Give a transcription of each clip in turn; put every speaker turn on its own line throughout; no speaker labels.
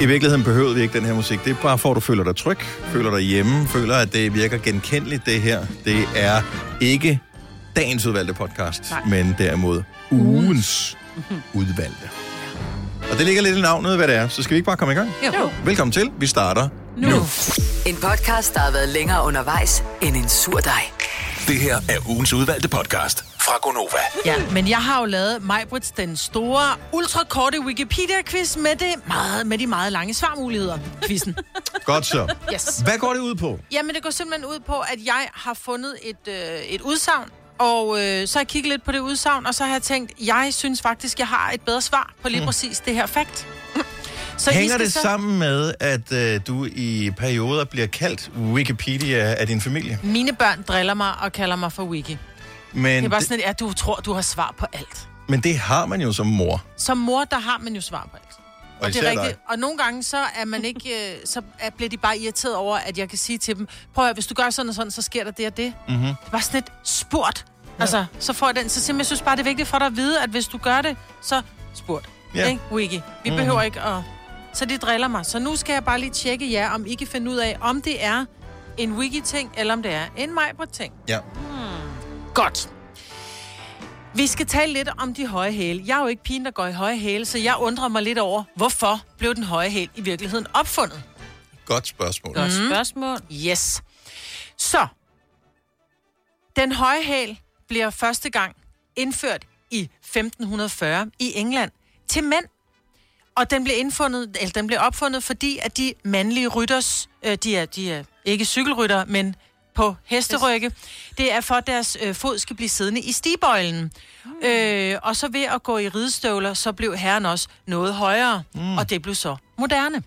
I virkeligheden behøvede vi ikke den her musik. Det er bare for, at du føler dig tryg, føler dig hjemme, føler, at det virker genkendeligt, det her. Det er ikke dagens udvalgte podcast, Nej. men derimod ugens udvalgte. Og det ligger lidt i navnet, hvad det er. Så skal vi ikke bare komme i gang?
Jo.
Velkommen til. Vi starter nu. nu.
En podcast, der har været længere undervejs end en sur dej.
Det her er ugens udvalgte podcast fra Gonova.
Ja, men jeg har jo lavet Majbrits den store, ultrakorte Wikipedia-quiz med, det meget, med de meget lange svarmuligheder. Quizzen.
Godt så.
Yes.
Hvad går det ud på?
Jamen, det går simpelthen ud på, at jeg har fundet et, øh, et udsagn, og øh, så har jeg kigget lidt på det udsagn, og så har jeg tænkt, jeg synes faktisk, jeg har et bedre svar på lige mm. præcis det her fakt. Så I
Hænger
skal
det
så-
sammen med, at øh, du i perioder bliver kaldt Wikipedia af din familie?
Mine børn driller mig og kalder mig for Wiki. Det er
Men
bare
det,
sådan, et, at du tror, du har svar på alt.
men det har man jo som mor.
Som mor, der har man jo svar på alt.
Og
det
især
er
dig.
rigtigt. Og nogle gange, så, er man ikke, øh, så er, bliver de bare irriteret over, at jeg kan sige til dem, prøv at høre, hvis du gør sådan og sådan, så sker der det og det.
Mhm.
Mm-hmm. Det er bare sådan et spurt. Altså, så får jeg den. Så simpelthen, jeg synes bare, det er vigtigt for dig at vide, at hvis du gør det, så spurt.
Ja. Mhm.
Ikke, Wiki? Vi mm-hmm. behøver ikke at... Så de driller mig. Så nu skal jeg bare lige tjekke jer, om I kan finde ud af, om det er en wiki-ting, eller om det er en Majbert-ting.
Ja.
Godt. Vi skal tale lidt om de høje hæle. Jeg er jo ikke pigen, der går i høje hæle, så jeg undrer mig lidt over, hvorfor blev den høje hæl i virkeligheden opfundet?
Godt spørgsmål.
Godt spørgsmål.
Mhm. Yes. Så, den høje hæl bliver første gang indført i 1540 i England til mænd. Og den blev, indfundet, eller den blev opfundet, fordi at de mandlige rytters, øh, de, er, de er ikke cykelrytter, men på hesterygge, det er for, at deres øh, fod skal blive siddende i stigbøjlen. Mm. Øh, og så ved at gå i ridestøvler, så blev herren også noget højere, mm. og det blev så moderne.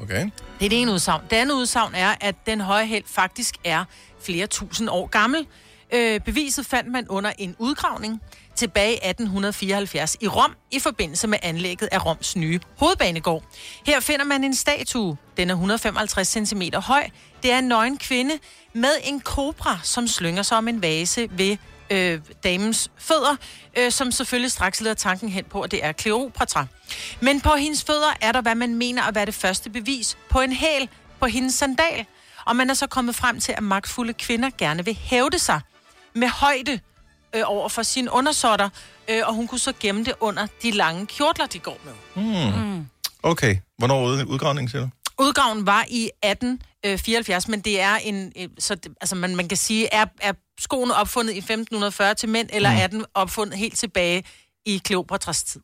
Okay.
Det er det ene udsagn. Det andet udsagn er, at den høje held faktisk er flere tusind år gammel. Øh, beviset fandt man under en udgravning tilbage i 1874 i Rom i forbindelse med anlægget af Roms nye hovedbanegård. Her finder man en statue. Den er 155 cm høj. Det er en nøgen kvinde med en kobra, som slynger sig om en vase ved øh, damens fødder, øh, som selvfølgelig straks leder tanken hen på, at det er Kleopatra. Men på hendes fødder er der, hvad man mener at være det første bevis på en hæl på hendes sandal. Og man er så kommet frem til, at magtfulde kvinder gerne vil hævde sig med højde øh, over for sine undersåtter, øh, og hun kunne så gemme det under de lange kjortler, de går med.
Okay. Hvornår ud, udgravningen, siger du?
Udgaven var i 1874, men det er en... øh, Så, det- altså, man, man kan sige, er, er skoene opfundet i 1540 til mænd, eller mm. er den opfundet helt tilbage i Kleopatras tid?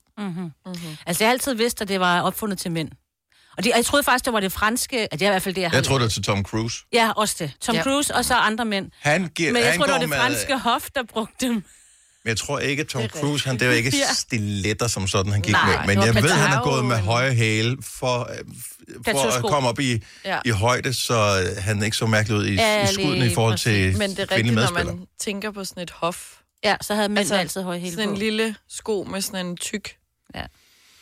Altså, jeg har altid vidst, at det var opfundet til mænd. Og, det, og jeg troede faktisk, det var det franske, at det er i hvert fald det, jeg,
Jeg tror, det er til Tom Cruise.
Ja, også det. Tom
Ja.
ja. Cruise og så andre mænd.
Han giver,
Men jeg
han
tror, det var
går
det
med-
franske hof, der brugte dem.
Men jeg tror ikke, at Tom Cruise, han, det var ikke
Ja.
stiletter som sådan, han gik
Nej,
med. Men
det var
jeg ved, han har
Patao,
gået med
men-
høje hæle for, øh, f- for at
Plateausko.
komme op i, ja.
Ja.
i højde, så øh, han ikke så mærkelig ud i,
Ja,
i skuddene i
lige
forhold
præcis.
til
Men det er
kvindelige
rigtigt, når
medspillere.
man tænker på sådan et hof.
Ja, så havde mænd altså,
Altså,
altid høje hele
Sådan
på.
en lille sko med sådan en tyk.
Ja.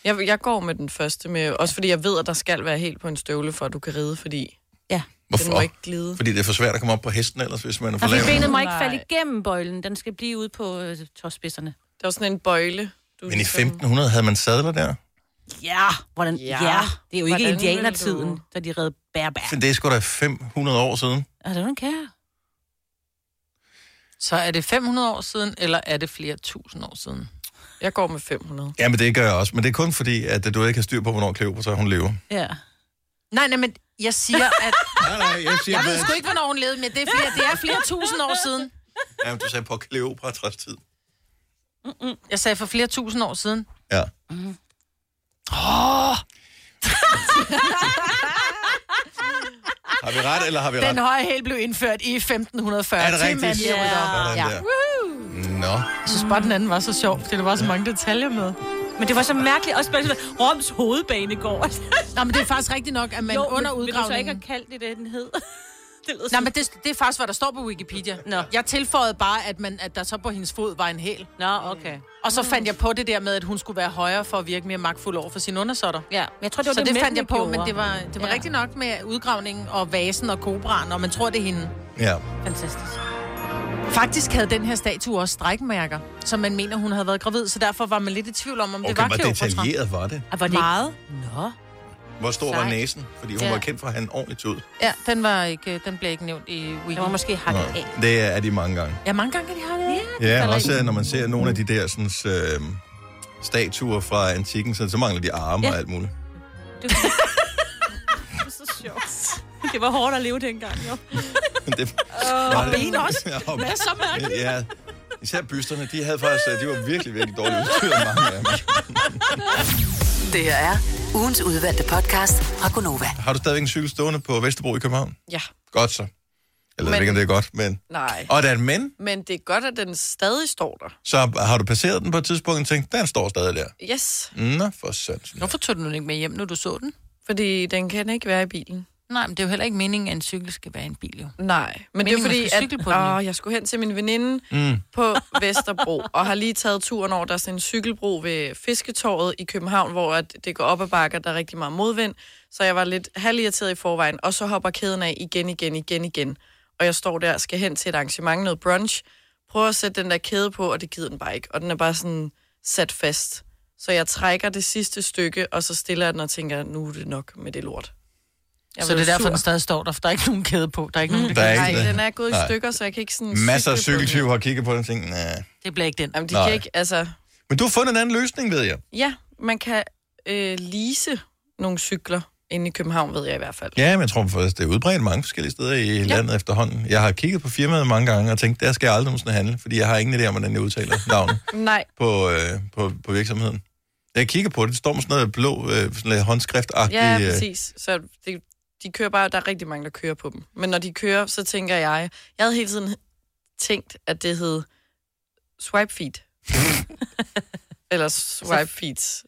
Jeg, jeg går med den første, med, også fordi jeg ved, at der skal være helt på en støvle, for at du kan ride, fordi
Ja.
den må
Hvorfor?
ikke glide.
Fordi det er for svært at komme op på hesten ellers, hvis man er for
Og fordi
lav.
benet må ikke falde
Nej.
igennem bøjlen. Den skal blive ude på øh, tåspidserne.
Der var sådan en bøjle. Du
Men i
ligesom-
1500 havde man sadler der.
Ja, hvordan, ja.
Ja.
ja. Det er jo ikke
Hvordan vil
indianertiden,
du-
da de redde bærbær.
Det er sgu da 500 år siden.
Er der nogen kære?
Så er det 500 år siden, eller er det flere tusind år siden?
Jeg går med 500.
Ja, men det gør jeg også. Men det er kun fordi, at du ikke har styr på, hvornår Kleopatra hun lever.
Ja.
Nej, nej, men jeg siger, at...
Nej, nej, jeg siger,
Jeg ved sgu ikke, hvornår hun levede, men det er flere, det er flere tusind år siden.
Jamen, du sagde på Kleopatras tid.
Jeg sagde for flere tusind år siden.
Ja. Har vi ret, eller har vi ret?
Den høje hæl blev indført i 1540.
Er det
til
rigtigt?
mandlige
Ja.
ryttere.
Sådan
Ja.
der. Nå.
Jeg synes bare, den anden var så sjov, fordi der var så mange detaljer med.
Men det var så mærkeligt. Også bare sådan, Roms hovedbanegård.
Nå, men det er faktisk rigtigt nok, at man jo, under
vil, vil du så ikke
udgravningen...
have kaldt det, det den hed? det lyder
Nej,
sådan-
men det, det er faktisk, hvad der står på Wikipedia. Nå. Jeg tilføjede bare, at, man, at der så på hendes fod var en hæl.
Nå, okay.
Og så fandt jeg på det der med, at hun skulle være højere for at virke mere magtfuld over for sine undersåtter.
Ja, men jeg tror, det var
Så
det,
det, det
mændene
fandt jeg på,
gjorde.
men det var, det var ja.
Ja.
rigtigt nok med udgravningen og vasen og kobraen, og man tror, det er hende.
Ja.
Fantastisk.
Faktisk havde den her statue også strækmærker, som man mener, hun havde været gravid, så derfor var man lidt i tvivl om, om det
Okay,
var
hvor
Kleopatra.
detaljeret var det?
Og var Ah, det
Meget.
Ikke? Nå.
Hvor stor var
Sejt.
næsen? Fordi hun
Ja.
var kendt for at have en ordentlig tud.
Ja, den, var ikke, den blev ikke nævnt i Wiki.
Jeg må måske hakke
Nå,
af.
Det er de mange gange.
Ja, mange gange kan de have det. Yeah.
Ja, også når man ser nogle af de der sådan, øh, statuer fra antikken, så, så mangler de arme ja.
Ja.
og alt muligt.
Det er så sjovt. Det var hårdt at leve dengang, jo.
det, var det.
ben også.
Ja, og,
Hvad er så mærkeligt?
ja, især bysterne, de havde faktisk, øh, de var virkelig, virkelig dårligt udstyret, mange af dem.
Det her er ugens udvalgte podcast fra Gonova.
Har du stadigvæk en cykel stående på Vesterbro i København?
Ja,
Godt så. Jeg ved
Men-
ikke, om det er godt, men...
nej.
Og der er en men,
Men det er godt, at den stadig står der.
så har du passeret den på et tidspunkt og tænkt, den står stadig der.
Yes,
Nå, for sandt.
Hvorfor tog du den ikke med hjem, når du så den?
fordi den kan ikke være i bilen.
Nej, men det er jo heller ikke meningen, at en cykel skal være en bil, jo.
Nej, men, men det er
Meningen, man
fordi,
skal cykle
at
på den, jo.
åh, jeg skulle hen til min veninde mm. på Vesterbro, og har lige taget turen over, der er sådan en cykelbro ved Fisketorvet i København, hvor at det går op ad bakker, der er rigtig meget modvind, så jeg var lidt halvirriteret i forvejen, og så hopper kæden af igen, igen, igen, igen. Og jeg står der og skal hen til et arrangement, noget brunch, prøver at sætte den der kæde på, og det gider den bare ikke, og den er bare sådan sat fast. Så jeg trækker det sidste stykke, og så stiller jeg den og tænker, nu er det nok med det lort. Jeg
Så det
blev
er derfor,
sur.
den stadig står der, for der er ikke nogen kæde på. Der er ikke nogen,
Der er
Nej,
ikke det.
den er gået i
Nej.
stykker, så jeg kan ikke sådan...
Masser af
cykle på den.
cykeltyve har kigget på den og tænkt, nej.
Det bliver ikke den.
Jamen, de
Nej.
Nej. kan ikke, altså...
Men du har fundet en anden løsning, ved jeg.
Ja, man kan øh, lease nogle cykler inde i København, ved jeg i hvert fald.
Ja, men jeg tror faktisk, det er udbredt mange forskellige steder i ja. landet efterhånden. Jeg har kigget på firmaet mange gange og tænkt, der skal jeg aldrig nogensinde handle, fordi jeg har ingen idé om, hvordan jeg udtaler navnet
Nej,
på, øh, på, på virksomheden. Da jeg kigger på det, det står med sådan noget blå øh, sådan lidt håndskriftagtigt.
ja,
øh,
præcis. Så det, de kører bare, der er rigtig mange, der kører på dem. Men når de kører, så tænker jeg... Jeg havde hele tiden tænkt, at det hed Swipe Feet. Eller Swipe Feet.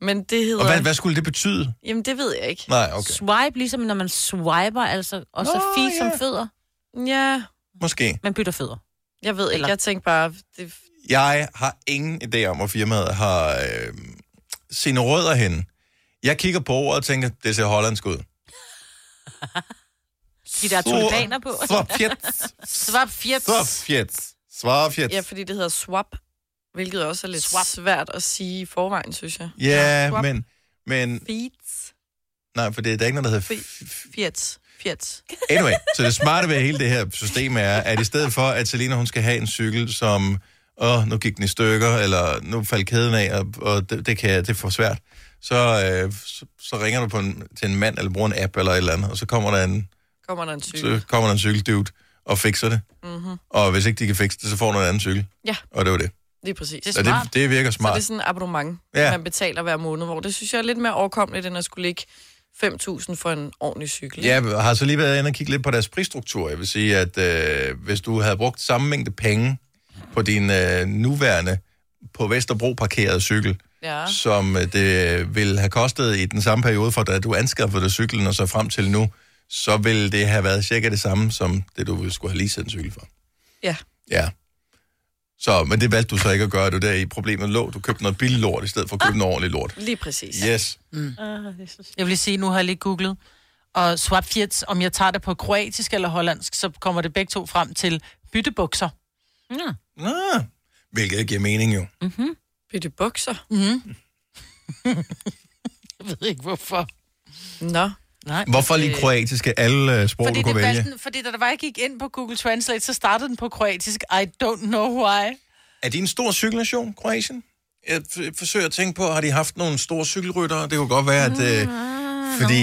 Men det hedder...
Og hvad, hvad skulle det betyde?
Jamen, det ved jeg ikke.
Nej,
Okay.
okay.
Swipe, ligesom når man swiper, altså, og så
Nå,
feet
ja.
som fødder.
Ja,
Måske.
Man bytter fødder.
jeg ved ikke.
Eller-
Jeg tænkte bare... Det,
Jeg har ingen idé om, hvor firmaet har øh, sine rødder henne. Jeg kigger på ordet og tænker, det ser hollandsk ud.
De der tulipaner på.
Svapjet.
Svap fjeps.
Svapjet. Svapjet.
ja, fordi det hedder swap, hvilket også er lidt
Swap.
swap. svært at sige i forvejen, synes jeg.
Ja,
Swap.
men, men...
Feet.
Nej, for det er der er ikke noget, der hedder... f-
Fiat. Fiat.
Anyway, så det smarte ved hele det her system er, at i stedet for, at Selina hun skal have en cykel, som, åh, nu gik den i stykker, eller nu faldt kæden af, og, og det, det, kan, jeg- det er for svært, så, øh, så, så ringer du på en, til en mand, eller bruger en app, eller et eller andet, og så kommer der en,
Kommer der en cykel?
så kommer der en cykeldude og fikser det. Mm-hmm. Og hvis ikke de kan fikse det, så får du en anden cykel.
Mhm. Ja.
Og det var det.
Lige præcis.
Det
Det
Så
er
Smart.
det, det virker
så det
smart.
er sådan en abonnement,
Ja.
ja. man betaler hver måned, hvor det synes jeg er lidt mere overkommeligt, end at skulle lægge 5.000 for en ordentlig cykel.
Ja, jeg har så lige været inde og kigge lidt på deres prisstruktur. Jeg vil sige, at øh, hvis du havde brugt samme mængde penge på din øh, nuværende på Vesterbro parkerede cykel,
ja.
som øh, det ville have kostet i den samme periode, fra da du anskaffede dig cyklen og så frem til nu, så ville det have været cirka det samme, som det du ville skulle have leaset en cykel for.
ja.
Ja. Så, men det valgte du så ikke at gøre, det var der i problemet lå. Du købte noget billig lort, i stedet for at købe noget ordentligt lort.
Lige præcis.
Yes.
Jeg vil lige sige, nu har jeg lige googlet. Og swap fjets, om jeg tager det på kroatisk eller hollandsk, så kommer det begge to frem til byttebukser.
Nå, hvilket giver mening jo.
Bytte bukser.
Jeg ved ikke, hvorfor.
Nå.
Nej.
Hvorfor lige kroatiske alle øh, sprog,
Fordi,
du kunne
det var
vælge?
sådan, fordi da der var, jeg gik ind på Google Translate, så startede den på kroatisk. I don't know why.
Er de en stor cykelnation, Kroatien? Jeg f- forsøger at tænke på, har de haft nogle store cykelryttere? Det kunne godt være, at... Øh,
Mm,
fordi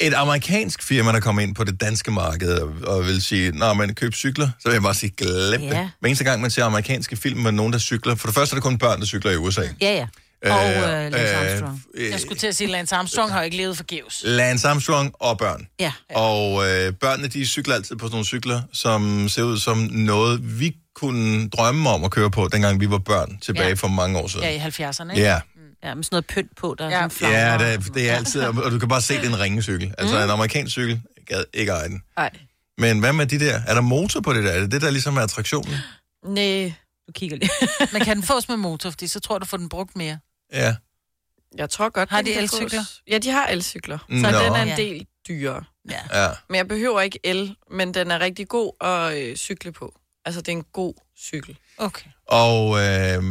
et amerikansk firma, der kommer ind på det danske marked og, og vil sige, når man køber cykler, så vil jeg bare sige, glem det.
Ja.
Hver eneste gang, man ser amerikanske film med nogen, der cykler... For det første er det kun børn, der cykler i USA.
Ja, ja. Og øh, Lance Armstrong.
Øh,
Jeg skulle til at sige, Lance Armstrong har jo ikke levet forgæves.
Lance Armstrong og børn.
Ja.
Og øh, børnene, de cykler altid på sådan nogle cykler, som ser ud som noget, vi kunne drømme om at køre på, dengang vi var børn, tilbage ja.
Ja.
for mange år siden.
Ja, i 70'erne, ikke?
Ja,
Ja, med sådan noget pynt på, der er
Ja.
sådan flammer.
ja det, det er altid, og og du kan bare se, det er en ringecykel.
Mm.
Altså en amerikansk cykel, jeg gad ikke eje den.
Nej.
Men hvad med de der? Er der motor på det der? Er det det, der ligesom er attraktionen?
Nej.
Du kigger lige.
Men kan den fås med motor, fordi så tror jeg, du får den brugt mere.
Ja.
Jeg tror godt,
Har
den
de
kan
elcykler?
fås. Ja, de har elcykler. Så
Nå.
den er
Ja.
en del dyrere.
Ja.
ja.
Men jeg behøver ikke el, men den er rigtig god at øh, cykle på. Altså, det er en god cykel.
Okay.
Og øh,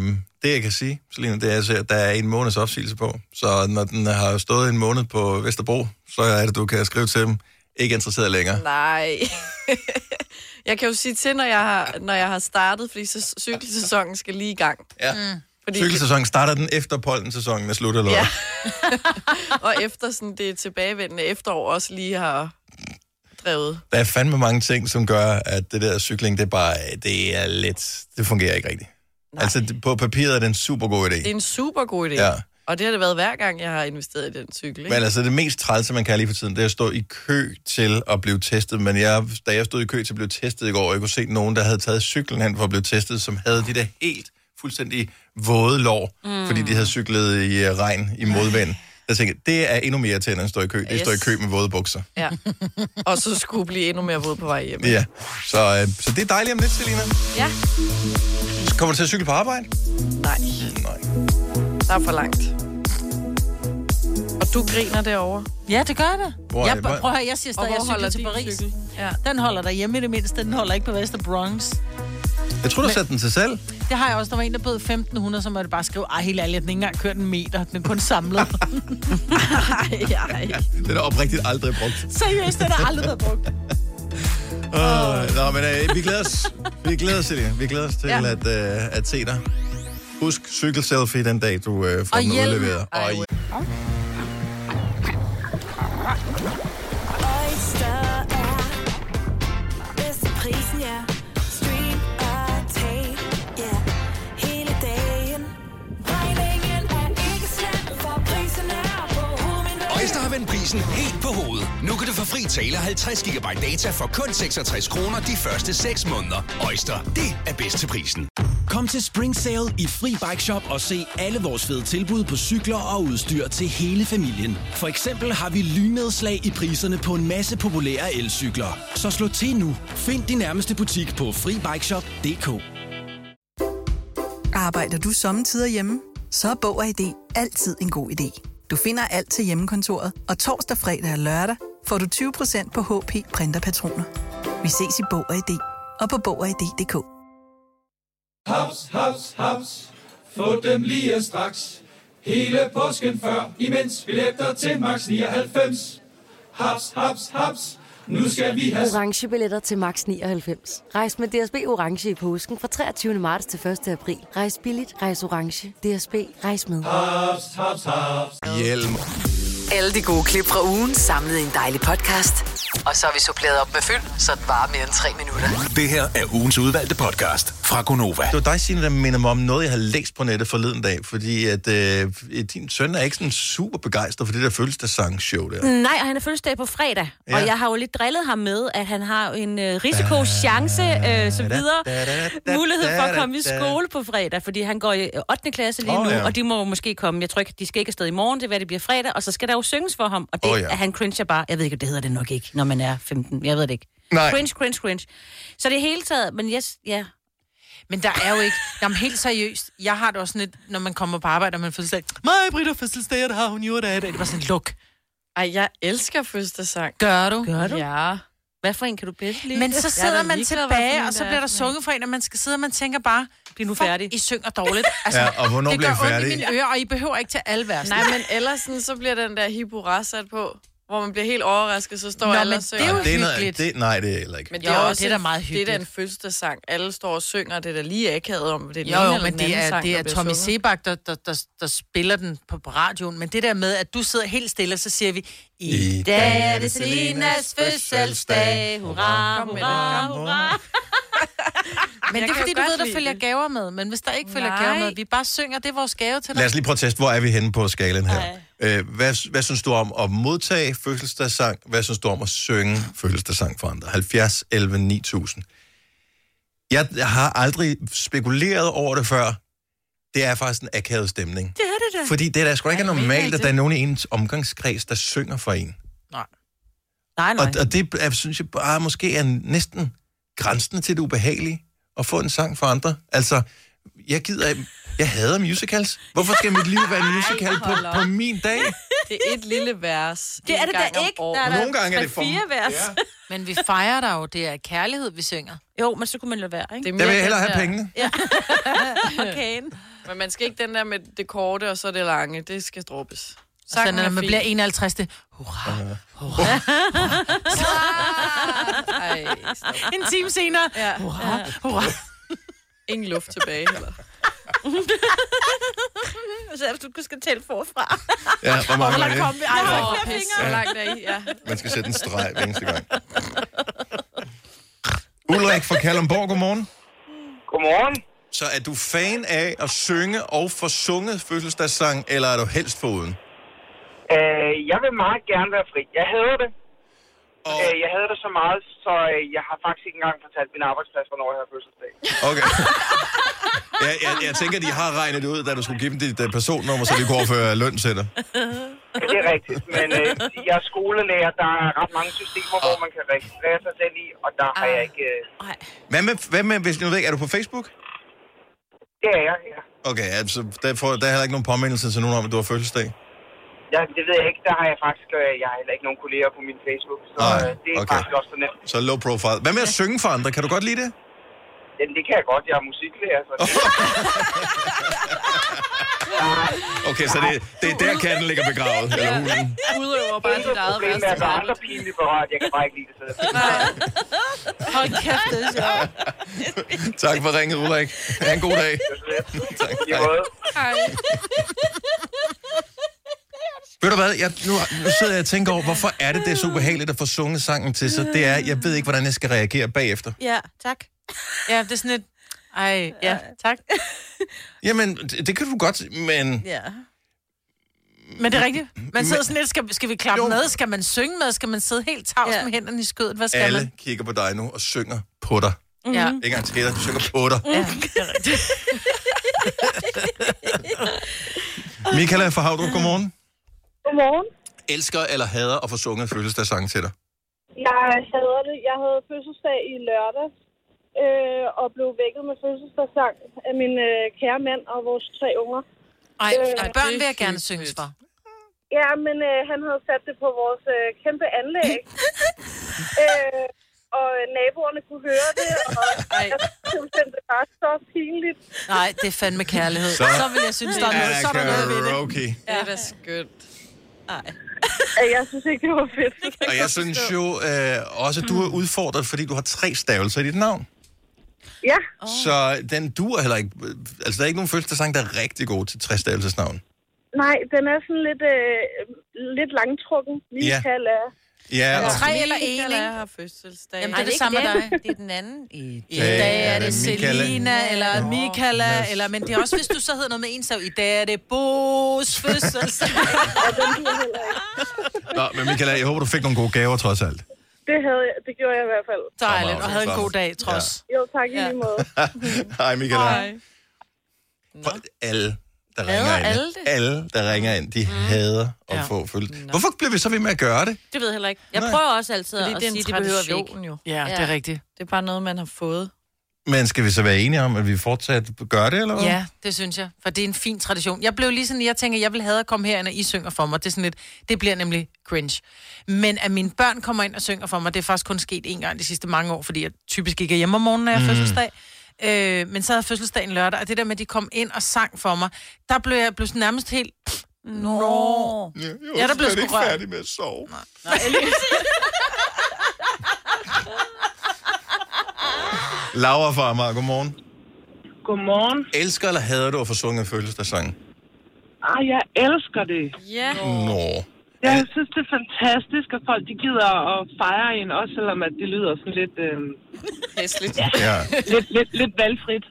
det, jeg kan sige, Selina, det er, altså, at der er en måneds opsigelse på. Så når den har stået en måned på Vesterbro, så er det, du kan skrive til dem. Ikke interesseret længere.
Nej. jeg kan jo sige til, når jeg har, når jeg har startet, fordi så cykelsæsonen skal lige i gang.
Ja.
Mm.
Fordi,
Cykelsæsonen starter den efter pollensæsonen er slut, eller ja.
Ja. og efter sådan det tilbagevendende efterår også lige har drevet.
Der er fandme mange ting, som gør, at det der cykling, det er bare, det er lidt, det fungerer ikke rigtigt. Nej. Altså, det- på papiret er det en super god idé.
Det er en super god idé.
Ja.
Og det har det været hver gang, jeg har investeret i den cykel. Ikke?
Men altså, det mest trælse, man kan lige for tiden, det er at stå i kø til at blive testet. Men jeg, da jeg stod i kø til at blive testet i går, jeg kunne se nogen, der havde taget cyklen hen for at blive testet, som havde de der helt fuldstændig våde lår, mm. fordi de havde cyklet i øh, regn, i modvind. Der tænkte jeg, det er endnu mere irriterende end at stå i kø. Det er at stå i
Yes.
kø med våde bukser.
Ja. Og så skulle blive endnu mere våd på vej hjem.
Ja, så, øh, så det er dejligt om lidt, Selina.
Ja.
Kommer du til at cykle på arbejde?
Nej,
Nej.
der er for langt. Og du griner derovre.
Ja, det gør det.
Hvor-
jeg,
hvor-
prøv at høre, jeg siger
Og
stadig, jeg cykler til Paris. Cykel?
Ja.
Den holder der hjemme i det mindste, den holder ikke på Vester Bronx.
Jeg tror, du satte den til selv.
Det har jeg også. Der var en, der bød 1.500, så måtte jeg bare skrive, ej, helt ærligt, den ikke engang kørt en meter, den er kun samlet.
Ej, ej.
Den er oprigtigt aldrig brugt.
Seriøst, den har aldrig været brugt.
Oh. Nå, men øh, vi glæder os. Vi glæder os, Selina. Vi glæder os til ja.
Ja.
at, øh, at se dig. Husk cykelselfie den dag, du øh, får
Og
den
hjelm.
udleveret. Og hjelm.
Oyster er bedst til prisen, ja. Stream og tag, ja. Hele dagen. Regningen er ikke slem, for prisen er på
Øjster
hovedet.
har vendt prisen helt på hovedet. Nu kan du få fri tale 50 GB data for kun 66 kroner de første 6 måneder. Øjster, det er bedst til prisen.
Kom til Spring Sale i Fri Bike Shop og se alle vores fede tilbud på cykler og udstyr til hele familien. For eksempel har vi lynedslag i priserne på en masse populære elcykler. Så slå til nu. Find din nærmeste butik på FriBikeShop.dk
Arbejder du sommetider hjemme? Så er Bog og ID altid en god idé. Du finder alt til hjemmekontoret, og torsdag, fredag og lørdag får du 20% på HP Printerpatroner. Vi ses i Bog og ID og på Bog og ID.dk.
Haps, haps, haps. Få dem lige straks. Hele påsken før, imens billetter til max 99. Haps, haps, haps. Nu skal vi have...
Orange billetter til max 99. Rejs med DSB Orange i påsken fra 23. marts til 1. april. Rejs billigt, rejs orange. DSB, rejs med.
hjelm.
Alle de gode klip fra ugen samlet i en dejlig podcast. Og så har vi suppleret op med fyld, så det varer mere end tre minutter.
Det her er ugens udvalgte podcast fra Gonova.
Det var dig, Signe, der minder mig om noget, jeg har læst på nettet forleden dag, fordi at øh, din søn er ikke sådan super begejstret for det der følelsesangshow der.
Nej, og han er fødselsdag på fredag. Ja.
Ja.
Og jeg har jo lidt drillet ham med, at han har en øh, risikochance, øh, som videre mulighed for at komme i skole på fredag, fordi han går i øh, 8. klasse lige
Åh,
nu,
ja.
og de må jo måske komme. Jeg tror ikke, de skal ikke afsted i morgen, det er hvad det bliver fredag, og så skal der jo synges for ham, og det
Åh, ja.
er han cringer bare. Jeg ved ikke, det hedder det nok ikke, når man er 15. Jeg ved det ikke.
Nej.
Cringe, cringe, cringe. Så det er hele taget, men yes, ja.
Men der er jo ikke... Jamen, helt seriøst. Jeg har det også sådan lidt, når man kommer på arbejde, og man fødselsdag. Nej, Britt har fødselsdag, og det har hun jo, det er det. Det var sådan, luk.
Ej, jeg elsker fødselsdagssang.
Gør du?
Gør du?
Ja.
Hvad for en kan du bedst lide?
Men så
Jeg er
sidder
da
man
ligeglad, hvad for
tilbage,
en
og så
der
bliver
er
der
sådan
sunget for en, og man skal sidde, og man tænker bare, bliv nu
færdig.
I synger dårligt. Altså,
Ja, og hvornår
det
bliver
gør
I
ondt i
færdige?
mine ører, og I behøver ikke til alle vers.
Nej, men ellers sådan, så bliver den der hip hurra sat på, hvor man bliver helt overrasket, så står
Nå,
alle
men
og synger.
det er jo
det er noget,
hyggeligt.
det, nej, det er heller ikke.
Men
Jo,
også
det er da
en-
meget
Det er da
hyggeligt.
en fødselsdagssang. Alle står og synger, og det er da lige akavet om, det er den
Jo,
ene
jo,
eller
men
den
det
anden
er,
sang,
det
der
er
bliver
Tommy
sunget.
Sebak, der, der, der, der spiller den på på radioen. Men det der med, at du sidder helt stille, og så siger vi... I dag er det Selinas fødselsdag.
Hurra,
Kom med
hurra,
det.
hurra.
Men det
Jeg
er
kan
fordi,
jo
du
godt
ved, der
lide
følger
det.
gaver med. Men hvis der ikke følger
Nej.
gaver med, vi bare synger, det er vores gave til dig.
Lad os lige prøve at teste, hvor er vi henne på skalen her. Øh, hvad, hvad synes du om at modtage fødselsdagssang? Hvad synes du om at synge fødselsdagssang for andre? 70, 11, 9000. Jeg har aldrig spekuleret over det før. Det er faktisk en akavet stemning. Det er det da. Fordi det er da sgu da ikke normalt, at der er nogen i ens omgangskreds, der synger for en.
Nej.
Nej,
Og,
nej.
og det er, synes jeg bare måske er næsten grænsen til det ubehagelige at få en sang for andre. Altså, jeg gider... Jeg hader musicals. Hvorfor skal mit liv være en musical på, på min dag?
Det er et lille vers.
Det er
en
det
gang
da
om
ikke.
året.
Der er
Nogle gange er det for...
fire vers.
Ja.
Men vi fejrer dig jo, det er kærlighed, vi synger.
Jo, men så kunne man lade være, ikke?
Det vil jeg hellere have pengene.
Ja. okay.
Men man skal ikke den der med det korte, og så det lange. Det skal droppes.
Så
Sangen
når
er
man
fin.
bliver 51, det
Ej,
en time senere.
Ja.
Hurra, hurra.
Ingen luft tilbage, eller?
Så du skal tælle forfra.
Ja, hvor mange er
Hvor
det?
langt kom vi? Ej,
Ej,
hvor
hvor
flere
pis.
fingre.
Hvor langt er I? Ja.
Man skal sætte en streg hver eneste gang. Ulrik fra Kalundborg, godmorgen.
Godmorgen.
Så er du fan af at synge og få sunget fødselsdagssang, eller er du helst foruden?
Øh, jeg vil meget gerne være fri. Jeg hader det. Og... Øh, jeg hader det så meget, så øh, jeg har faktisk ikke engang fortalt min arbejdsplads, hvornår jeg har fødselsdag.
Okay. Jeg, jeg, jeg tænker, de har regnet det ud, da du skulle give dem dit øh, personnummer, så de kunne overføre løn til dig.
Det er rigtigt, men øh, jeg er skolelærer. Der er ret mange systemer, hvor man kan registrere sig selv i, og der har jeg ikke... Øh,
Hvad med, hvad med hvis nu ved, jeg ikke, er du på Facebook?
det er jeg, ja.
Okay, altså, der, får, der er heller ikke nogen påmindelse til nogen om, at du har fødselsdag.
ja. Det ved jeg ikke. Der har jeg faktisk... Øh, jeg har heller ikke nogen kolleger på min Facebook, så
Nej,
øh, det er
okay.
okay. faktisk også så nemt.
Så low profile. Hvad med at synge for andre? Kan du godt lide det?
Jamen, det kan jeg godt. Jeg er musiklærer, så... Det...
Okay, så det, det er der, katten ligger begravet. Eller hulen.
Udøver bare dit eget
Problemet er, at der er andre pinlige berørt. Jeg kan bare ikke lide det selv.
Hold kæft, det er sjovt.
Tak for ringet, Ulrik. Ha' en god dag. tak. Hej. Ved du hvad, jeg, nu, nu sidder jeg og tænker over, hvorfor er det, det er så ubehageligt at få sunget sangen til sig? Det er, jeg ved ikke, hvordan jeg skal reagere bagefter.
Ja, tak.
Ja, det er sådan et... Ej, ja, tak.
Jamen, det, det kan du godt, men...
Ja.
Men det er rigtigt. Man sidder
Men-
sådan lidt, skal, skal vi klappe
Jo.
med? Skal man synge med? Skal man sidde helt tavs
Ja.
ja. med hænderne i skødet? Hvad skal
Alle
man?
kigger på dig nu og synger på dig.
Ja.
Mhm.
Ikke engang til dig, de synger på dig.
ja, det er rigtigt.
Michael er fra Havdrup, godmorgen.
Godmorgen.
Elsker eller hader at få sunget fødselsdagssang til dig?
Jeg hader det. Jeg havde fødselsdag i lørdag øh, og blev vækket med fødselsdagssang af min øh, kære mand og vores tre unger.
Ej, ej, børn vil jeg gerne synge for.
Ja, men øh, han havde sat det på vores øh, kæmpe anlæg. øh, og naboerne kunne høre det, og jeg synes, det var så pinligt.
Nej, det er fandme kærlighed.
Så-
Så, så vil jeg synes, der er noget, så er der noget ved det.
okay.
Det er da skønt.
Øh, Jeg synes ikke, det var fedt.
Og jeg synes jo øh, også, at du
Mm.
er udfordret, fordi du har tre stavelser i dit navn.
Ja,
Så den duer heller ikke. Altså, der er ikke nogen fødselsdagssang, der er rigtig god til tre stavelsesnavn.
nej, den er sådan lidt, øh, lidt langtrukken. Michael ja. er...
Ja, og
Tre eller en,
Michael
ikke?
er har fødselsdag.
Jamen,
Ej,
det er
det
det
er
samme med
ikke
dig.
Det er den anden. I
I dag er det
Michaela.
Selina, eller Michaela, eller, men det er også, hvis du så hedder noget med en stav. I dag er det Bo's fødselsdag.
Nå, men Michael, jeg håber, du fik nogle gode gaver trods alt.
Det, havde jeg, det gjorde jeg i hvert fald.
Dejligt, og havde en god dag, trods.
Jo, tak i lige måde.
Hej, Michael. Hej. Alle, der ringer ind.
alle det?
Alle, der ringer ind, de hader at
Ja.
få følelse. Hvorfor bliver vi så ved med at gøre det?
Det ved jeg heller ikke. Jeg
Nej.
prøver også altid
Fordi
at
det er
sige,
en
det behøver vi ikke.
tradition jo.
Ja, det er rigtigt.
Det er bare noget, man har fået.
Men skal vi så være enige om, at vi fortsat gør det, eller hvad?
Ja, det synes jeg, for det er en fin tradition. Jeg blev lige sådan, jeg tænker, jeg vil have at komme herind, og I synger for mig. Det, er sådan lidt, det bliver nemlig cringe. Men at mine børn kommer ind og synger for mig, det er faktisk kun sket en gang de sidste mange år, fordi jeg typisk ikke er hjemme om morgenen, når jeg har fødselsdag. Øh, men så havde jeg fødselsdagen lørdag, og det der med, at de kom ind og sang for mig, der blev jeg blev sådan nærmest helt... Nå.
Jeg
Ja, der blev sgu rørt.
med at sove. Laura fra Amager, godmorgen.
Godmorgen.
Elsker eller hader du at få sunget en fødselsdagssang?
Ah, jeg elsker det.
Ja.
Nå.
Jeg synes, det er fantastisk, at folk de gider at fejre en, også selvom at det lyder sådan lidt, øh,
Hæsligt.
Ja.
lidt, lidt, lidt valgfrit.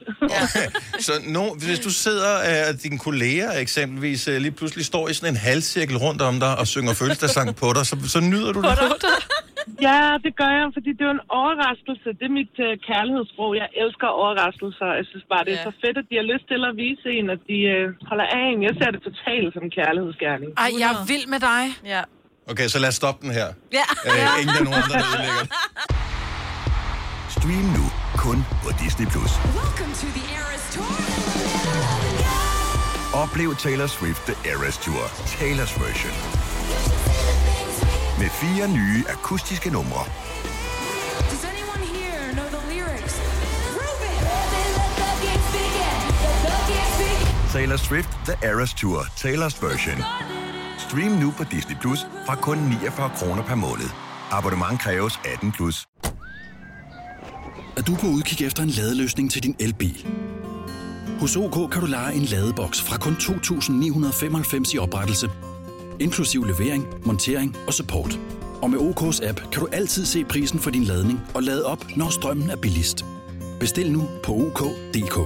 Så no, hvis du sidder øh, og dine kolleger eksempelvis øh, lige pludselig står i sådan en halvcirkel rundt om dig og synger fødselsdagssang på dig, så, så nyder du det.
ja, det gør jeg, fordi det er jo en overraskelse. Det er mit øh, kærlighedssprog. Jeg elsker overraskelser. Jeg synes bare, det er
Ja.
så fedt, at de har lyst til at vise en, at de øh, holder af en. Jeg ser det totalt som en kærlighedsgerning.
Ej, jeg er vild med dig.
Ja.
Okay, så lad os stoppe den her.
Ja.
Øh, ingen af nogen, der ødelægger det.
Stream nu kun på Disney+. Plus. Oplev Taylor Swift The Eras Tour, Taylor's version. Med fire nye akustiske numre.
Taylor Swift The Eras Tour, Taylor's version. Stream nu på Disney Plus fra kun 49 kroner per måned. Abonnement kræves 18 plus.
Er du på udkig efter en ladeløsning til din elbil? Hos OK kan du lege en ladeboks fra kun 2.995 i oprettelse, inklusiv levering, montering og support. Og med OK's app kan du altid se prisen for din ladning og lade op, når strømmen er billigst. Bestil nu på OK.dk.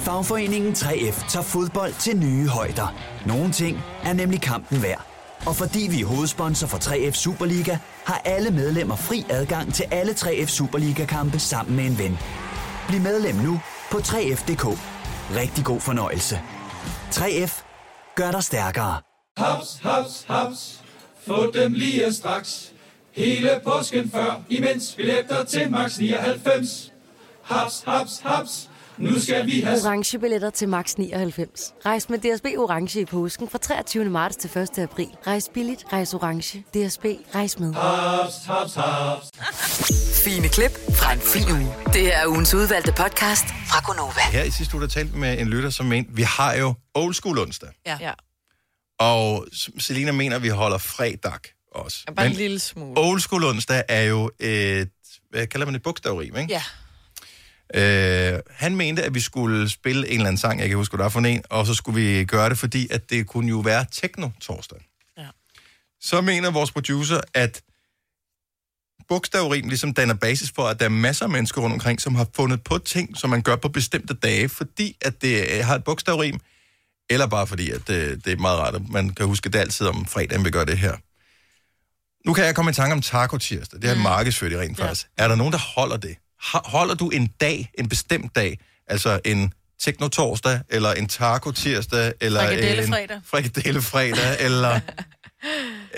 Fagforeningen 3F tager fodbold til nye højder. Nogle ting er nemlig kampen værd. Og fordi vi er hovedsponsor for 3F Superliga, har alle medlemmer fri adgang til alle 3F Superliga-kampe sammen med en ven. Bliv medlem nu på 3F.dk. Rigtig god fornøjelse. 3F gør dig stærkere.
Haps, haps, haps. Få dem lige straks. Hele påsken før, imens billetter til max 99. Haps, haps, haps. Nu skal vi have...
Orange billetter til max 99. Rejs med DSB Orange i påsken fra 23. marts til 1. april. Rejs billigt, rejs orange. DSB, rejs med.
Haps, haps, haps.
Fine klip fra en fin uge. Det her er ugens udvalgte podcast fra Gonova.
Her i sidste uge, der talte vi med en lytter, som mente, vi har jo old school onsdag.
Ja. ja.
Og Selina mener, at vi holder fredag også.
Bare en lille smule.
Old School Onsdag er jo et, hvad kalder man det, bogstavrim, ikke?
Ja.
Øh, han mente, at vi skulle spille en eller anden sang, jeg kan huske, hvad der er for en, og så skulle vi gøre det, fordi at det kunne jo være techno-torsdag.
Ja.
Så mener vores producer, at bogstavrim ligesom danner basis for, at der er masser af mennesker rundt omkring, som har fundet på ting, som man gør på bestemte dage, fordi at det øh, har et bogstavrim, eller bare fordi, at øh, det, det er meget rart, at man kan huske, at det er altid om fredagen, vi gør det her. Nu kan jeg komme i tanke om taco tirsdag. Det er mm. markedsført i rent faktisk. Ja. Er der nogen, der holder det? Ho- Holder du en dag, en bestemt dag, altså en teknotorsdag, eller en taco tirsdag, eller
Frikadellefredag.
en frikadellefredag, eller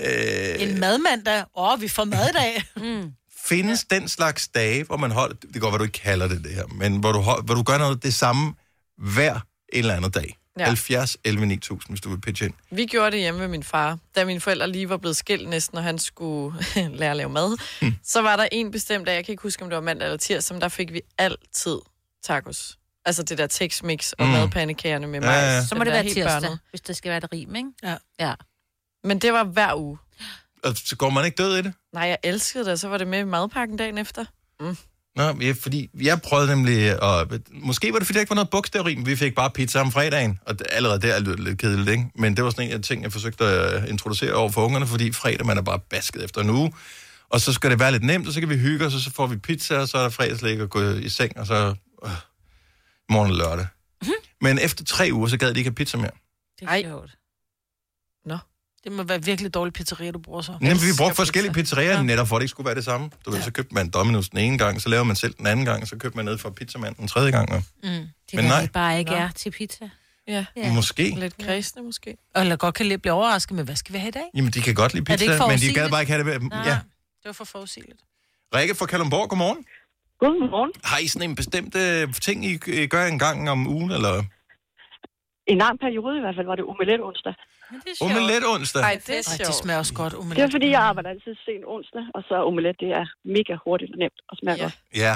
øh,
En madmandag. Åh, oh, vi får mad i dag. mm.
findes ja. den slags dage, hvor man holder, det kan godt være, du ikke kalder det det her, men hvor du, hold- hvor du gør noget det samme hver en eller anden dag.
Ja.
Ja. 70 11 9000, hvis du vil pitche ind.
Vi gjorde det hjemme ved min far. Da mine forældre lige var blevet skilt næsten, og han skulle lære at lave mad,
Mm.
så var der en bestemt dag, jeg kan ikke huske, om det var mandag eller tirsdag, men der fik vi altid tacos. Altså det der Tex-Mix og
Mm.
mm. madpandekagerne med
Ja, ja.
majs.
Så må
Den
det
der
være
helt
tirsdag,
hvis det skal være et rim, ikke? Ja. ja. Men det var hver uge.
Og så går man ikke død i det?
Nej, jeg elskede det, og så var det med i madpakken dagen efter. Mm.
Nå, ja, fordi jeg prøvede nemlig, og måske var det, fordi der ikke var noget bogstavrim, vi fik bare pizza om fredagen, og det, allerede der lød det lidt kedeligt, ikke? Men det var sådan en af de ting, jeg forsøgte at øh, introducere over for ungerne, fordi fredag, man er bare basket efter en uge, og så skal det være lidt nemt, og så kan vi hygge os, og så får vi pizza, og så er der fredagslæg og gå i seng, og så øh, morgen og lørdag. Men efter tre uger, så gad de ikke have pizza mere.
Det er sjovt.
Nå.
Det må være virkelig dårlig pizzeria, du bruger så.
Nemlig, vi brugte forskellige pizzerier, ja. netop for at det ikke skulle være det samme. Du ved, så købte man Domino's den ene gang, så laver man selv den anden gang, så købte man ned fra pizzamanden den tredje gang. Og...
Mm.
Men nej.
Det bare ikke
Nå.
er til pizza.
Ja.
Ja. Måske.
Lidt kredsende, måske.
Og eller godt kan lidt blive overrasket med, hvad skal vi have i dag?
Jamen, de kan godt lide
Er det
pizza,
ikke for
men de gad
forudsigeligt?
bare ikke have det. ved-
Nej.
Ja.
Det var for forudsigeligt.
Rikke fra Kalundborg, godmorgen.
Godmorgen.
Har I sådan en bestemt øh, ting, I øh, gør en gang om ugen, eller?
En lang periode i hvert fald var det omelet onsdag.
Omelet onsdag.
Ej, det, er sjovt. Ej, det smager også godt, omelet.
Det er fordi, jeg arbejder altid sent onsdag, og så omelet, det er mega hurtigt og nemt og smager ja. godt.
Ja.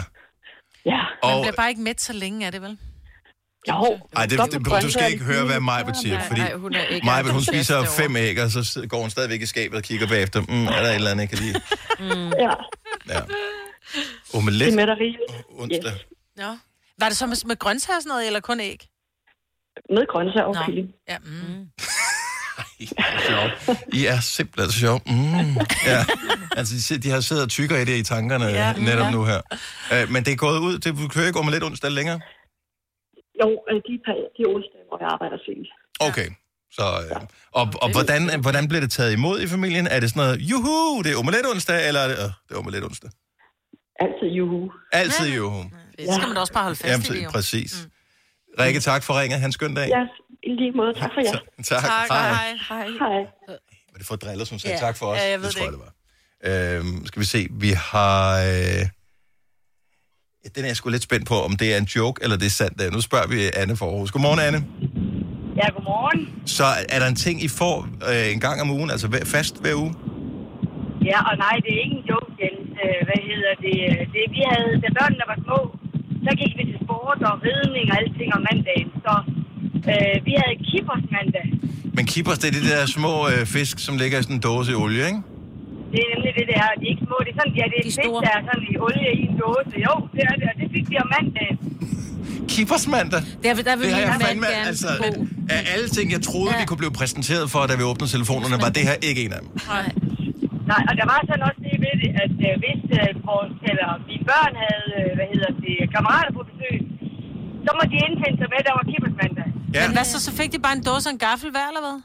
Ja.
Man
Og,
bliver bare ikke mæt så længe af det, vel?
Jo.
ej, det,
Godt
det,
med
du skal
grøntsager,
ikke høre, hvad Majbet siger,
Nej,
fordi
nej, hun er ikke
Majbet, hun
entusiast
spiser
derovre.
fem æg, og så sid- går hun stadigvæk i skabet og kigger bagefter. Mm, er der et eller andet, jeg kan lide?
Mm.
Ja.
Ja.
Det er
Omelet
med dig rigeligt.
onsdag.
Nå. Var det så med, med grøntsager og sådan noget, eller kun æg?
Med grøntsager og
Nå.
kylling.
Ja, mm.
I er simpelthen så sjov. Mm. Ja. Altså, de sid- de har siddet og tykker i det i tankerne
Ja.
ja,
mm,
netop
Ja.
nu her. Øh, men det er gået ud. Det, du kører ikke omelet onsdag længere?
Jo, øh, de, par- de onsdag, hvor jeg arbejder sent.
Okay. Så, øh, og, og hvordan, hvordan bliver det taget imod i familien? Er det sådan noget, juhu, det er omelet onsdag, eller er det, øh, det er omelet onsdag?
Altid juhu.
Altid juhu.
Det skal man da også bare holde fast
Jamen,
i det, jo.
præcis. Mm. Rikke, tak for ringet. Han skøn dag.
Ja, i lige måde. Tak for jer.
Tak. Tak, Hej. hej.
Hej.
Hej.
Var det for driller, som sagde
Ja.
ja. tak for os?
Ja, jeg ved
det
det
tror jeg, det var. Øhm, skal vi se, vi har... Øh... ja, Den er jeg sgu lidt spændt på, om det er en joke, eller det er sandt. det er. Nu spørger vi Anne for Aarhus. Godmorgen, Anne.
Ja, godmorgen.
Så er der en ting, I får øh, en gang om ugen, altså hver, fast hver uge?
Ja, og nej, det er ikke en joke, Jens. Øh, Hvad hedder det? øh, Det vi havde, da børnene var små, så gik vi til sport og ridning og alting om mandagen. Så Øh, vi havde kippers mandag.
Men kippers, det er de der små øh, fisk, som ligger i sådan en dåse i olie, ikke?
Det er nemlig det, det er. De er ikke små. Det er sådan, ja, det er de fisk, der er sådan i olie i en dåse. Jo, det er det, og det fik vi om mandag.
Kippers mandag.
Der vil, der vil
Det har
min
jeg
mand
fandme,
gerne
altså,
bo.
af alle ting, jeg troede, ja. vi kunne blive præsenteret for, da vi åbnede telefonerne, var det her ikke en af dem.
Nej. Nej, og der var sådan også det ved det, at øh, hvis øh, vores, eller mine børn havde, øh, hvad hedder det, kammerater på besøg, så må de indfinde sig med, at der var kibbelsmandag.
Ja.
Men hvad så, så fik de bare en dåse og en gaffel hver, eller hvad?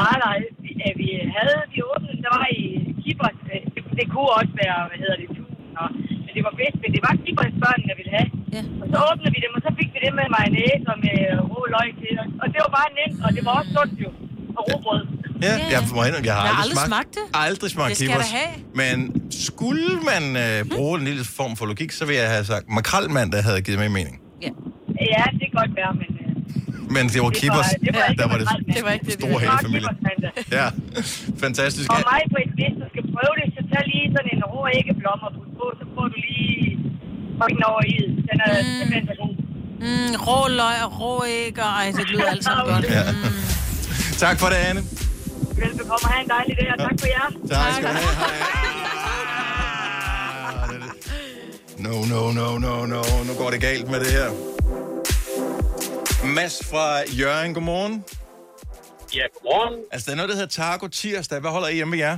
Nej, nej, vi, øh, vi havde de åbne, der var i kibbers, øh, det, det, kunne også være, hvad hedder det, tusind, og, men det var bedst, men det var kibbers børnene ville have.
Ja.
Og så åbnede vi dem, og så fik vi det med mayonnaise og med øh, rå løg til, og, og det var bare nemt, og det var også sundt jo, og råbrød.
Ja, jeg, må indrømme, jeg har aldrig, smagt,
det.
Aldrig smagt
Det skal jeg
kippers.
da have.
Men skulle man øh, bruge en lille form for logik, så ville jeg have sagt, makrelmandag havde givet mig mening.
Ja.
ja, det kan godt være, men... øh,
Men det var kippers,
det var ikke
der var det
makrelmandag. Det var ikke det,
store
det var.
hele
familien.
Ja, fantastisk.
Og mig på et hvis du skal prøve det, så tag lige sådan en rå æggeblomme og put på, så får du lige ryggen over i. Den er mm. simpelthen så god.
Mm, rå løg og rå æg, og ej, det lyder alt sammen godt.
Ja. Tak for det, Anne.
Velbekomme og have en dejlig dag, og tak for jer.
Tak skal du have. No, no, no, no, no. Nu går det galt med det her. Mads fra Jørgen, godmorgen.
Ja, godmorgen.
Altså, der er noget, der hedder Taco Tirsdag. Hvad holder I hjemme ved jer?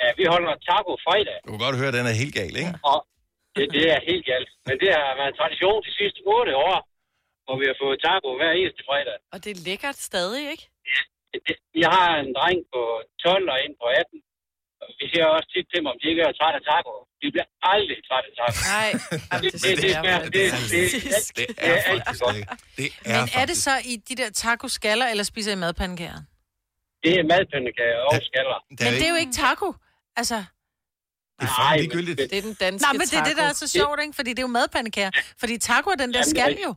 Ja, vi holder taco fredag,
Du kan godt høre, at den er helt gal, ikke?
og det, det er helt galt. Men det har været en tradition de sidste otte år, hvor vi har fået taco hver eneste fredag.
Og det er lækkert stadig, ikke?
Jeg har en dreng på 12 og en på 18. og Vi siger også tit til dem, om de ikke er trætte af taco. De bliver aldrig trætte af taco.
Nej,
det, det, det, smager- det, det, det, det er altid godt.
Det
Men er det så i de der taco-skaller, eller spiser I madpandekager?
Det er madpandekager og skaller.
Men det er jo ikke taco. Altså,
Det
er fandme
ligegyldigt.
Det er den danske
nej, men det er det, der er så
taco.
sjovt, ikke? Fordi det er jo madpandekager. Fordi taco er den der
Jamen, det
skal
er rigtigt.
jo.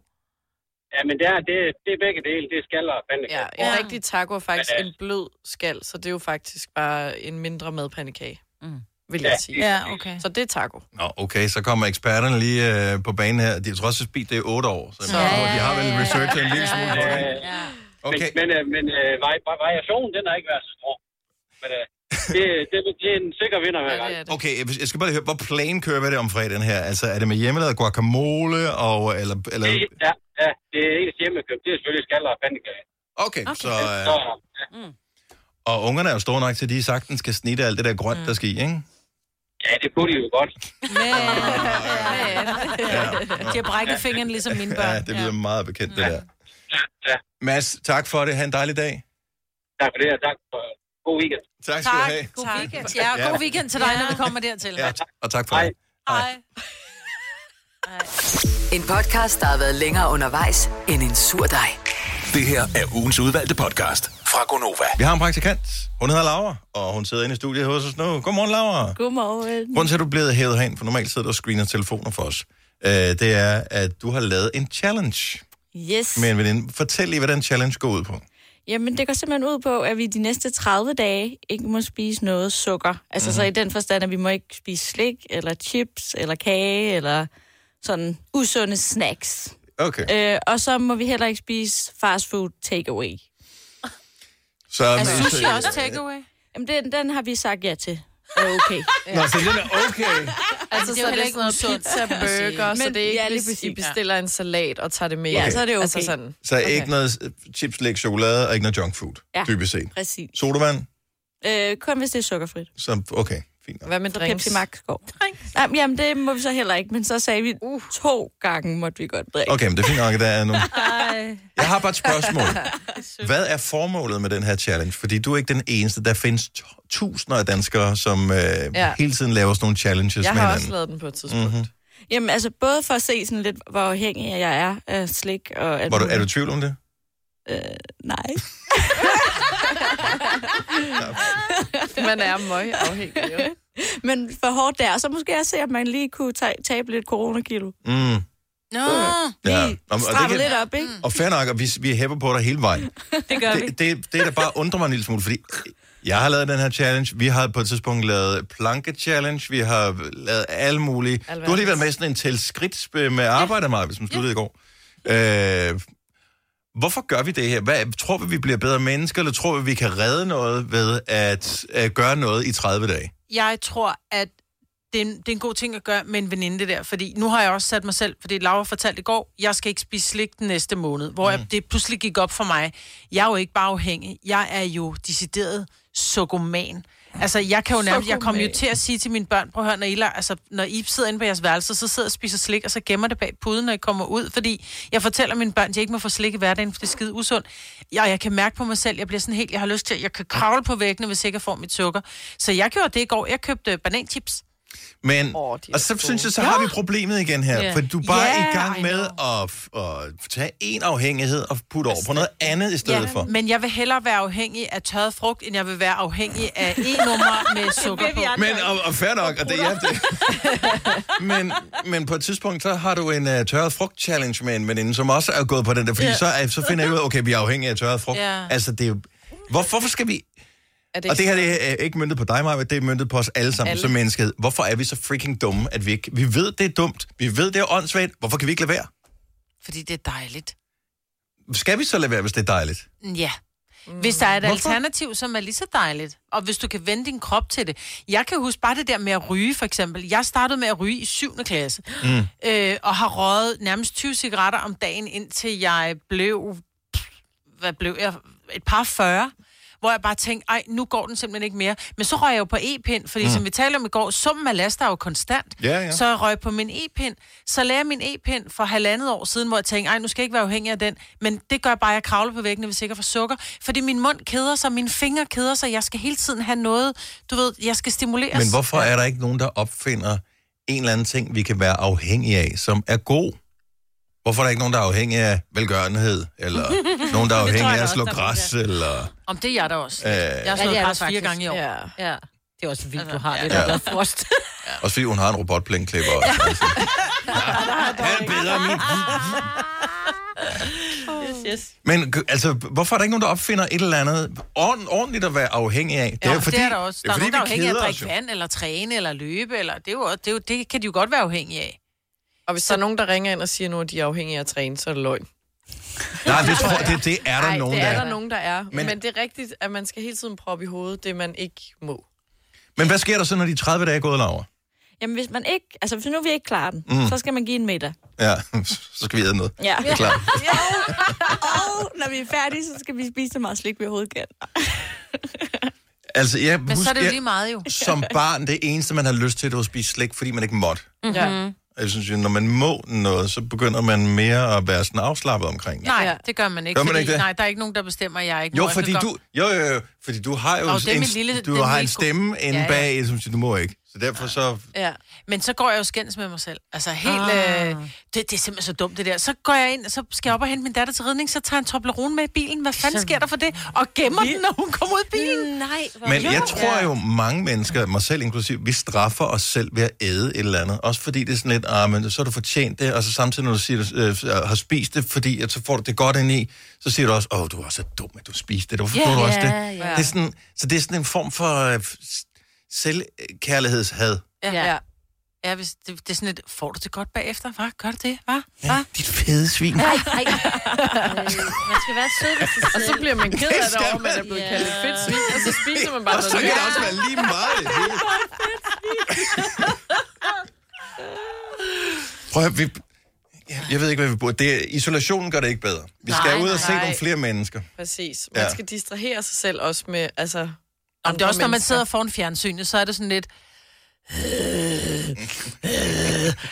Ja, men det er, det, det er begge dele. Det er skaller og pandekager.
Ja, en rigtig taco er faktisk
Men, øh,
en blød skal, så det er jo faktisk bare en mindre madpandekage, mm. vil jeg
Ja.
sige.
Ja,
okay.
Så det er taco.
Nå, okay, så kommer eksperterne lige øh, på banen her. De jeg tror også, at speed det er 8 år, så, så
Ja,
de har vel researchet en lille smule. på det.
Ja. Okay. Men, men, øh, men øh, vari- vari- variationen, den har ikke været så stor. Men øh, det, det, det er en sikker vinder hver gang.
Okay, jeg- jeg skal bare lige høre, hvor plan kører vi det om fredagen her? Altså, er det med hjemmelavet guacamole, og, eller, eller...
Øh.
Det, ja, ja, det er ens hjemmekøb. Det er selvfølgelig skaller og pandekager.
Okay, okay. så... Øh,
Så,
og ungerne er jo store nok til, at de sagtens skal snitte alt det der grønt, der skal i, ikke?
ja, det kunne de jo godt.
De har brækket fingeren ligesom mine børn.
Ja, det lyder meget bekendt, det der. Mads, tak for det. Ha' en dejlig dag.
Tak for det, og tak for god weekend.
Tak skal du have.
God weekend. Ja, god weekend til dig, når vi kommer dertil.
Ja, og tak for det.
Hej.
En podcast, der har været længere undervejs end en sur dej.
Det her er ugens udvalgte podcast fra Gonova.
Vi har en praktikant. Hun hedder Laura, og hun sidder inde i studiet hos os nu. Godmorgen, Laura.
Godmorgen.
Grunden til, at du er blevet hævet herind, for normalt sidder du og screener telefoner for os, øh, det er, at du har lavet en challenge
Yes.
med en veninde. Fortæl lige, hvad den challenge går ud på.
Jamen, det går simpelthen ud på, at vi de næste 30 dage ikke må spise noget sukker. Altså mm. så i den forstand, at vi må ikke spise slik, eller chips, eller kage, eller sådan usunde snacks.
Okay.
Øh, og så må vi heller ikke spise fast food takeaway.
Så,
Altså, sushi
så-
også takeaway? Jamen, den, den har vi sagt ja til. Er okay.
Nå, så den er okay.
Altså,
det er
så
jo heller
er det
ikke
ikke
noget
noget
sundt,
pizza,
kan man sige.
burger, så
Men-
det er ikke,
ja, lige
hvis I
præcis, ja.
bestiller en salat og tager det med.
Ja, så er det
Altså
okay.
sådan.
Så ikke noget øh, chips, læg, chokolade og ikke noget junk food,
Ja.
dybest set.
Præcis.
Sodavand,
Øh, kun hvis det er sukkerfrit.
så okay, fint nok.
Hvad med
drinks? Pepsi Max går. Jamen, jamen, det må vi så heller ikke, men så sagde vi, uh. to gange måtte vi godt drikke.
Okay, men det er fint nok, at der er nu.
Ej.
Jeg har bare et spørgsmål. Hvad er formålet med den her challenge? Fordi du er ikke den eneste. Der findes tu- tusinder af danskere, som øh, ja. hele tiden laver sådan nogle challenges
Jeg
med
har
hinanden.
også
lavet den på et
Mm-hmm.
Jamen, altså både for at se sådan lidt, hvor afhængig jeg er af slik og... Alt
Var du, er du i
muligt.
tvivl om det? Mm,
Øh, nej.
Man er møg afhængig, jo.
Men for hårdt der, så måske også se, at man lige kunne ta- tabe lidt coronakilo.
Mm.
Nå,
Ja.
lige
og
stramme lidt op,
Mm.
ikke?
Og fair nok, og vi, vi hæpper på dig hele vejen.
Det gør vi.
Det, det, det der bare undrer mig en lille smule, fordi jeg har lavet den her challenge, vi har på et tidspunkt lavet planke-challenge, vi har lavet alle mulige... Du har lige været med i sådan en tæl skridt med arbejde, Maja, som sluttede i går. Øh, Hvorfor gør vi det her? Hvad, tror vi, vi bliver bedre mennesker, eller tror vi, vi kan redde noget ved at, at gøre noget i 30 dage?
Jeg tror, at det er, en, det er en god ting at gøre med en veninde det der, fordi nu har jeg også sat mig selv, fordi Laura fortalte i går, jeg skal ikke spise slik den næste måned, hvor mm. jeg, det pludselig gik op for mig. Jeg er jo ikke bare afhængig, jeg er jo decideret sukkerman. Altså, jeg kan jo nærmest, jeg kommer jo til at sige til mine børn, prøv at høre, når I, la- altså, når I sidder inde på jeres værelse, så sidder jeg og spiser slik, og så gemmer det bag puden, når I kommer ud, fordi jeg fortæller mine børn, at jeg ikke må få slik i hverdagen, for det er skide usundt. Jeg, jeg kan mærke på mig selv, jeg bliver sådan helt, jeg har lyst til, jeg kan kravle på væggene, hvis ikke jeg får mit sukker. Så jeg gjorde det i går, jeg købte bananchips.
Men, oh, og så synes jeg, så har vi problemet igen her,
Ja.
for du er bare
Ja,
i gang
I
med at, at tage en afhængighed og putte over på noget andet i stedet for.
Men jeg vil hellere være afhængig af tørret frugt, end jeg vil være afhængig af e-nummer med sukker på.
Men, og, og fair nok, og det er det. men, men på et tidspunkt, så har du en uh, tørret frugt-challenge med en veninde, som også er gået på den der, fordi
Ja.
yeah. så, er, så finder jeg ud af, okay, vi er afhængige af tørret frugt.
Ja.
Altså, det er jo... Hvor, hvorfor skal vi...
Er
Det og det her det er øh, ikke myndet på dig, Maja, det er myndet på os alle sammen alle.
Alle.
som menneskehed. Hvorfor er vi så freaking dumme, at vi ikke... Vi ved, det er dumt. Vi ved, det er åndssvagt. Hvorfor kan vi ikke lade være?
Fordi det er dejligt. Mm,
Skal vi så lade være, hvis det er dejligt?
Ja. Hvis der er et
Hvorfor?
alternativ, som er lige så dejligt, og hvis du kan vende din krop til det. Jeg kan huske bare det der med at ryge, for eksempel. Jeg startede med at ryge i 7. klasse,
Mm.
øh, og har røget nærmest 20 cigaretter om dagen, indtil jeg blev, hvad blev jeg, et par 40, hvor jeg bare tænkte, ej, nu går den simpelthen ikke mere. Men så røg jeg jo på e-pind, fordi
Mm.
mm. som vi talte om i går, summen af laster er jo konstant.
Ja, ja.
Så jeg røg på min e-pind, så lagde jeg min e-pind for halvandet år siden, hvor jeg tænkte, ej, nu skal jeg ikke være afhængig af den, men det gør bare, at jeg kravler på væggene, hvis ikke jeg får sukker. Fordi min mund keder sig, mine fingre keder sig, jeg skal hele tiden have noget, du ved, jeg skal stimuleres.
Men hvorfor er der ikke nogen, der opfinder en eller anden ting, vi kan være afhængige af, som er god? Hvorfor er der ikke nogen, der er afhængige af velgørenhed? Eller nogen, der er
Det tror jeg
afhængige
da
af at
også,
slå
der er
græs? Eller...
Om det er jeg da også.
Øh.
Jeg
Ja,
har
det
slået ja,
er der
græs fire
faktisk.
gange i år. Ja.
Ja. Det er også vildt,
Altså,
du har det,
ja.
der ja. frost.
Også fordi øh, hun har en robotplænklipper. Ja. Han er bedre end min.
yes, yes.
Men g- altså, hvorfor er der ikke nogen, der opfinder et eller andet ord- ordentligt at være afhængig af?
Ja,
jo
det er, fordi, det er der også.
det
Der
er
er
fordi,
nogen, der er
vi
afhængig af at
keder os
drikke
jo.
vand, eller træne, eller løbe, eller det, er jo, også- det, er jo, det kan de jo godt være afhængige af.
Og hvis der er nogen, der ringer ind og siger nu, at de er afhængige af at træne, så er det løgn.
Nej, det, tror, jeg- det, det er der
Ej,
nogen,
det
der
er der nogen, der er.
Men-
Men... Men det er rigtigt, at man skal hele tiden proppe i hovedet det, man ikke må.
Men hvad sker der så, når de 30 dage er gået, Laura?
Jamen, hvis man ikke... Altså, hvis nu vi ikke klarer den,
Mm.
mm. så skal man give en middag.
Ja, så skal vi æde noget.
Ja.
Det er klart.
ja. Og når vi er færdige, så skal vi spise så meget slik, vi overhovedet kan.
Altså, jeg
Men så er det jo
jeg-
lige meget, jo.
Som barn, det eneste, man har lyst til, det var at spise slik, fordi man ikke måtte.
Mm-hmm.
Ja.
Og Jeg synes jo, når man må noget, så begynder man mere at være sådan afslappet omkring det.
Nej, det gør man ikke.
Gør man
fordi,
ikke det?
Nej, der er ikke nogen, der bestemmer, at jeg ikke må.
Jo,
Jeg
fordi
kan
du,
godt-
jo, jo, jo, fordi du har jo
Nå, det er
en,
min lille- det
du
er
har
min
en
lille-
stemme inde
Ja, ja.
bag, som siger, du må ikke. Så derfor så...
Ja. Men så går jeg jo skændes med mig selv. Altså helt...
Ah.
Ah. Øh, det, det er simpelthen så dumt, det der. Så går jeg ind, så skal jeg op og hente min datter til ridning, så tager jeg en Toblerone med i bilen. Hvad fanden sker der for det? Og gemmer den, når hun kommer ud af bilen.
Nej,
Men jeg tror jo, mange mennesker, mig selv inklusiv, vi straffer os selv ved at æde et eller andet. Også fordi det er sådan lidt, ah, men så har du fortjent det, og så samtidig, når du siger, du øh, har spist det, fordi at så får du det godt ind i, så siger du også, åh, oh, du var så dum, at du spiste det. Hvorfor
Ja,
yeah, gjorde du også
ja,
det?
ja.
det er sådan, så det er sådan en form for øh, s- selvkærlighedshad.
Ja. ja. Ja, hvis det, det er sådan et, får du det godt bagefter? Hvad? Gør du det? Hvad?
Ja, dit fede svin.
Nej, nej. Øh, Man skal være sød, hvis det
Og så bliver man ked af
Det
det
skal
over, at man er blevet
man.
kaldt et fedt svin, og så spiser man bare
Og så
noget
kan det
nyt.
også være
lige meget. Prøv at, høre, vi, jeg- jeg ved ikke, hvad vi burde. Det, er- isolationen gør det ikke bedre. Vi skal
Nej,
ud og
nej.
se nogle flere mennesker.
Præcis.
Ja.
Man skal distrahere sig selv også med, altså...
Om det er også, når man
mennesker.
sidder foran fjernsynet, så er det sådan lidt...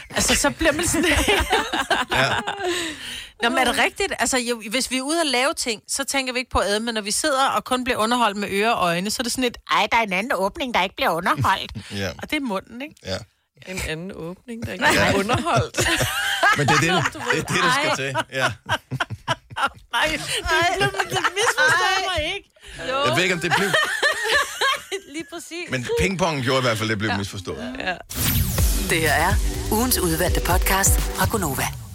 altså, så bliver man sådan...
Ja.
Nå, men er det rigtigt? Altså, jo, hvis vi er ude og lave ting, så tænker vi ikke på at æde, men når vi sidder og kun bliver underholdt med ører og øjne, så er det sådan lidt, ej, der er en anden åbning, der ikke bliver underholdt.
Ja.
Og det er munden, ikke?
Ja.
En anden åbning, der ikke er underholdt.
Men det er det, det, er det der skal til. Ja.
Nej, det, det misforstår mig ikke. Jo.
Jeg ved ikke, om det blev...
Lige præcis.
Men pingpong gjorde i hvert fald, det blev misforstået.
Det her er ugens udvalgte podcast fra Gonova.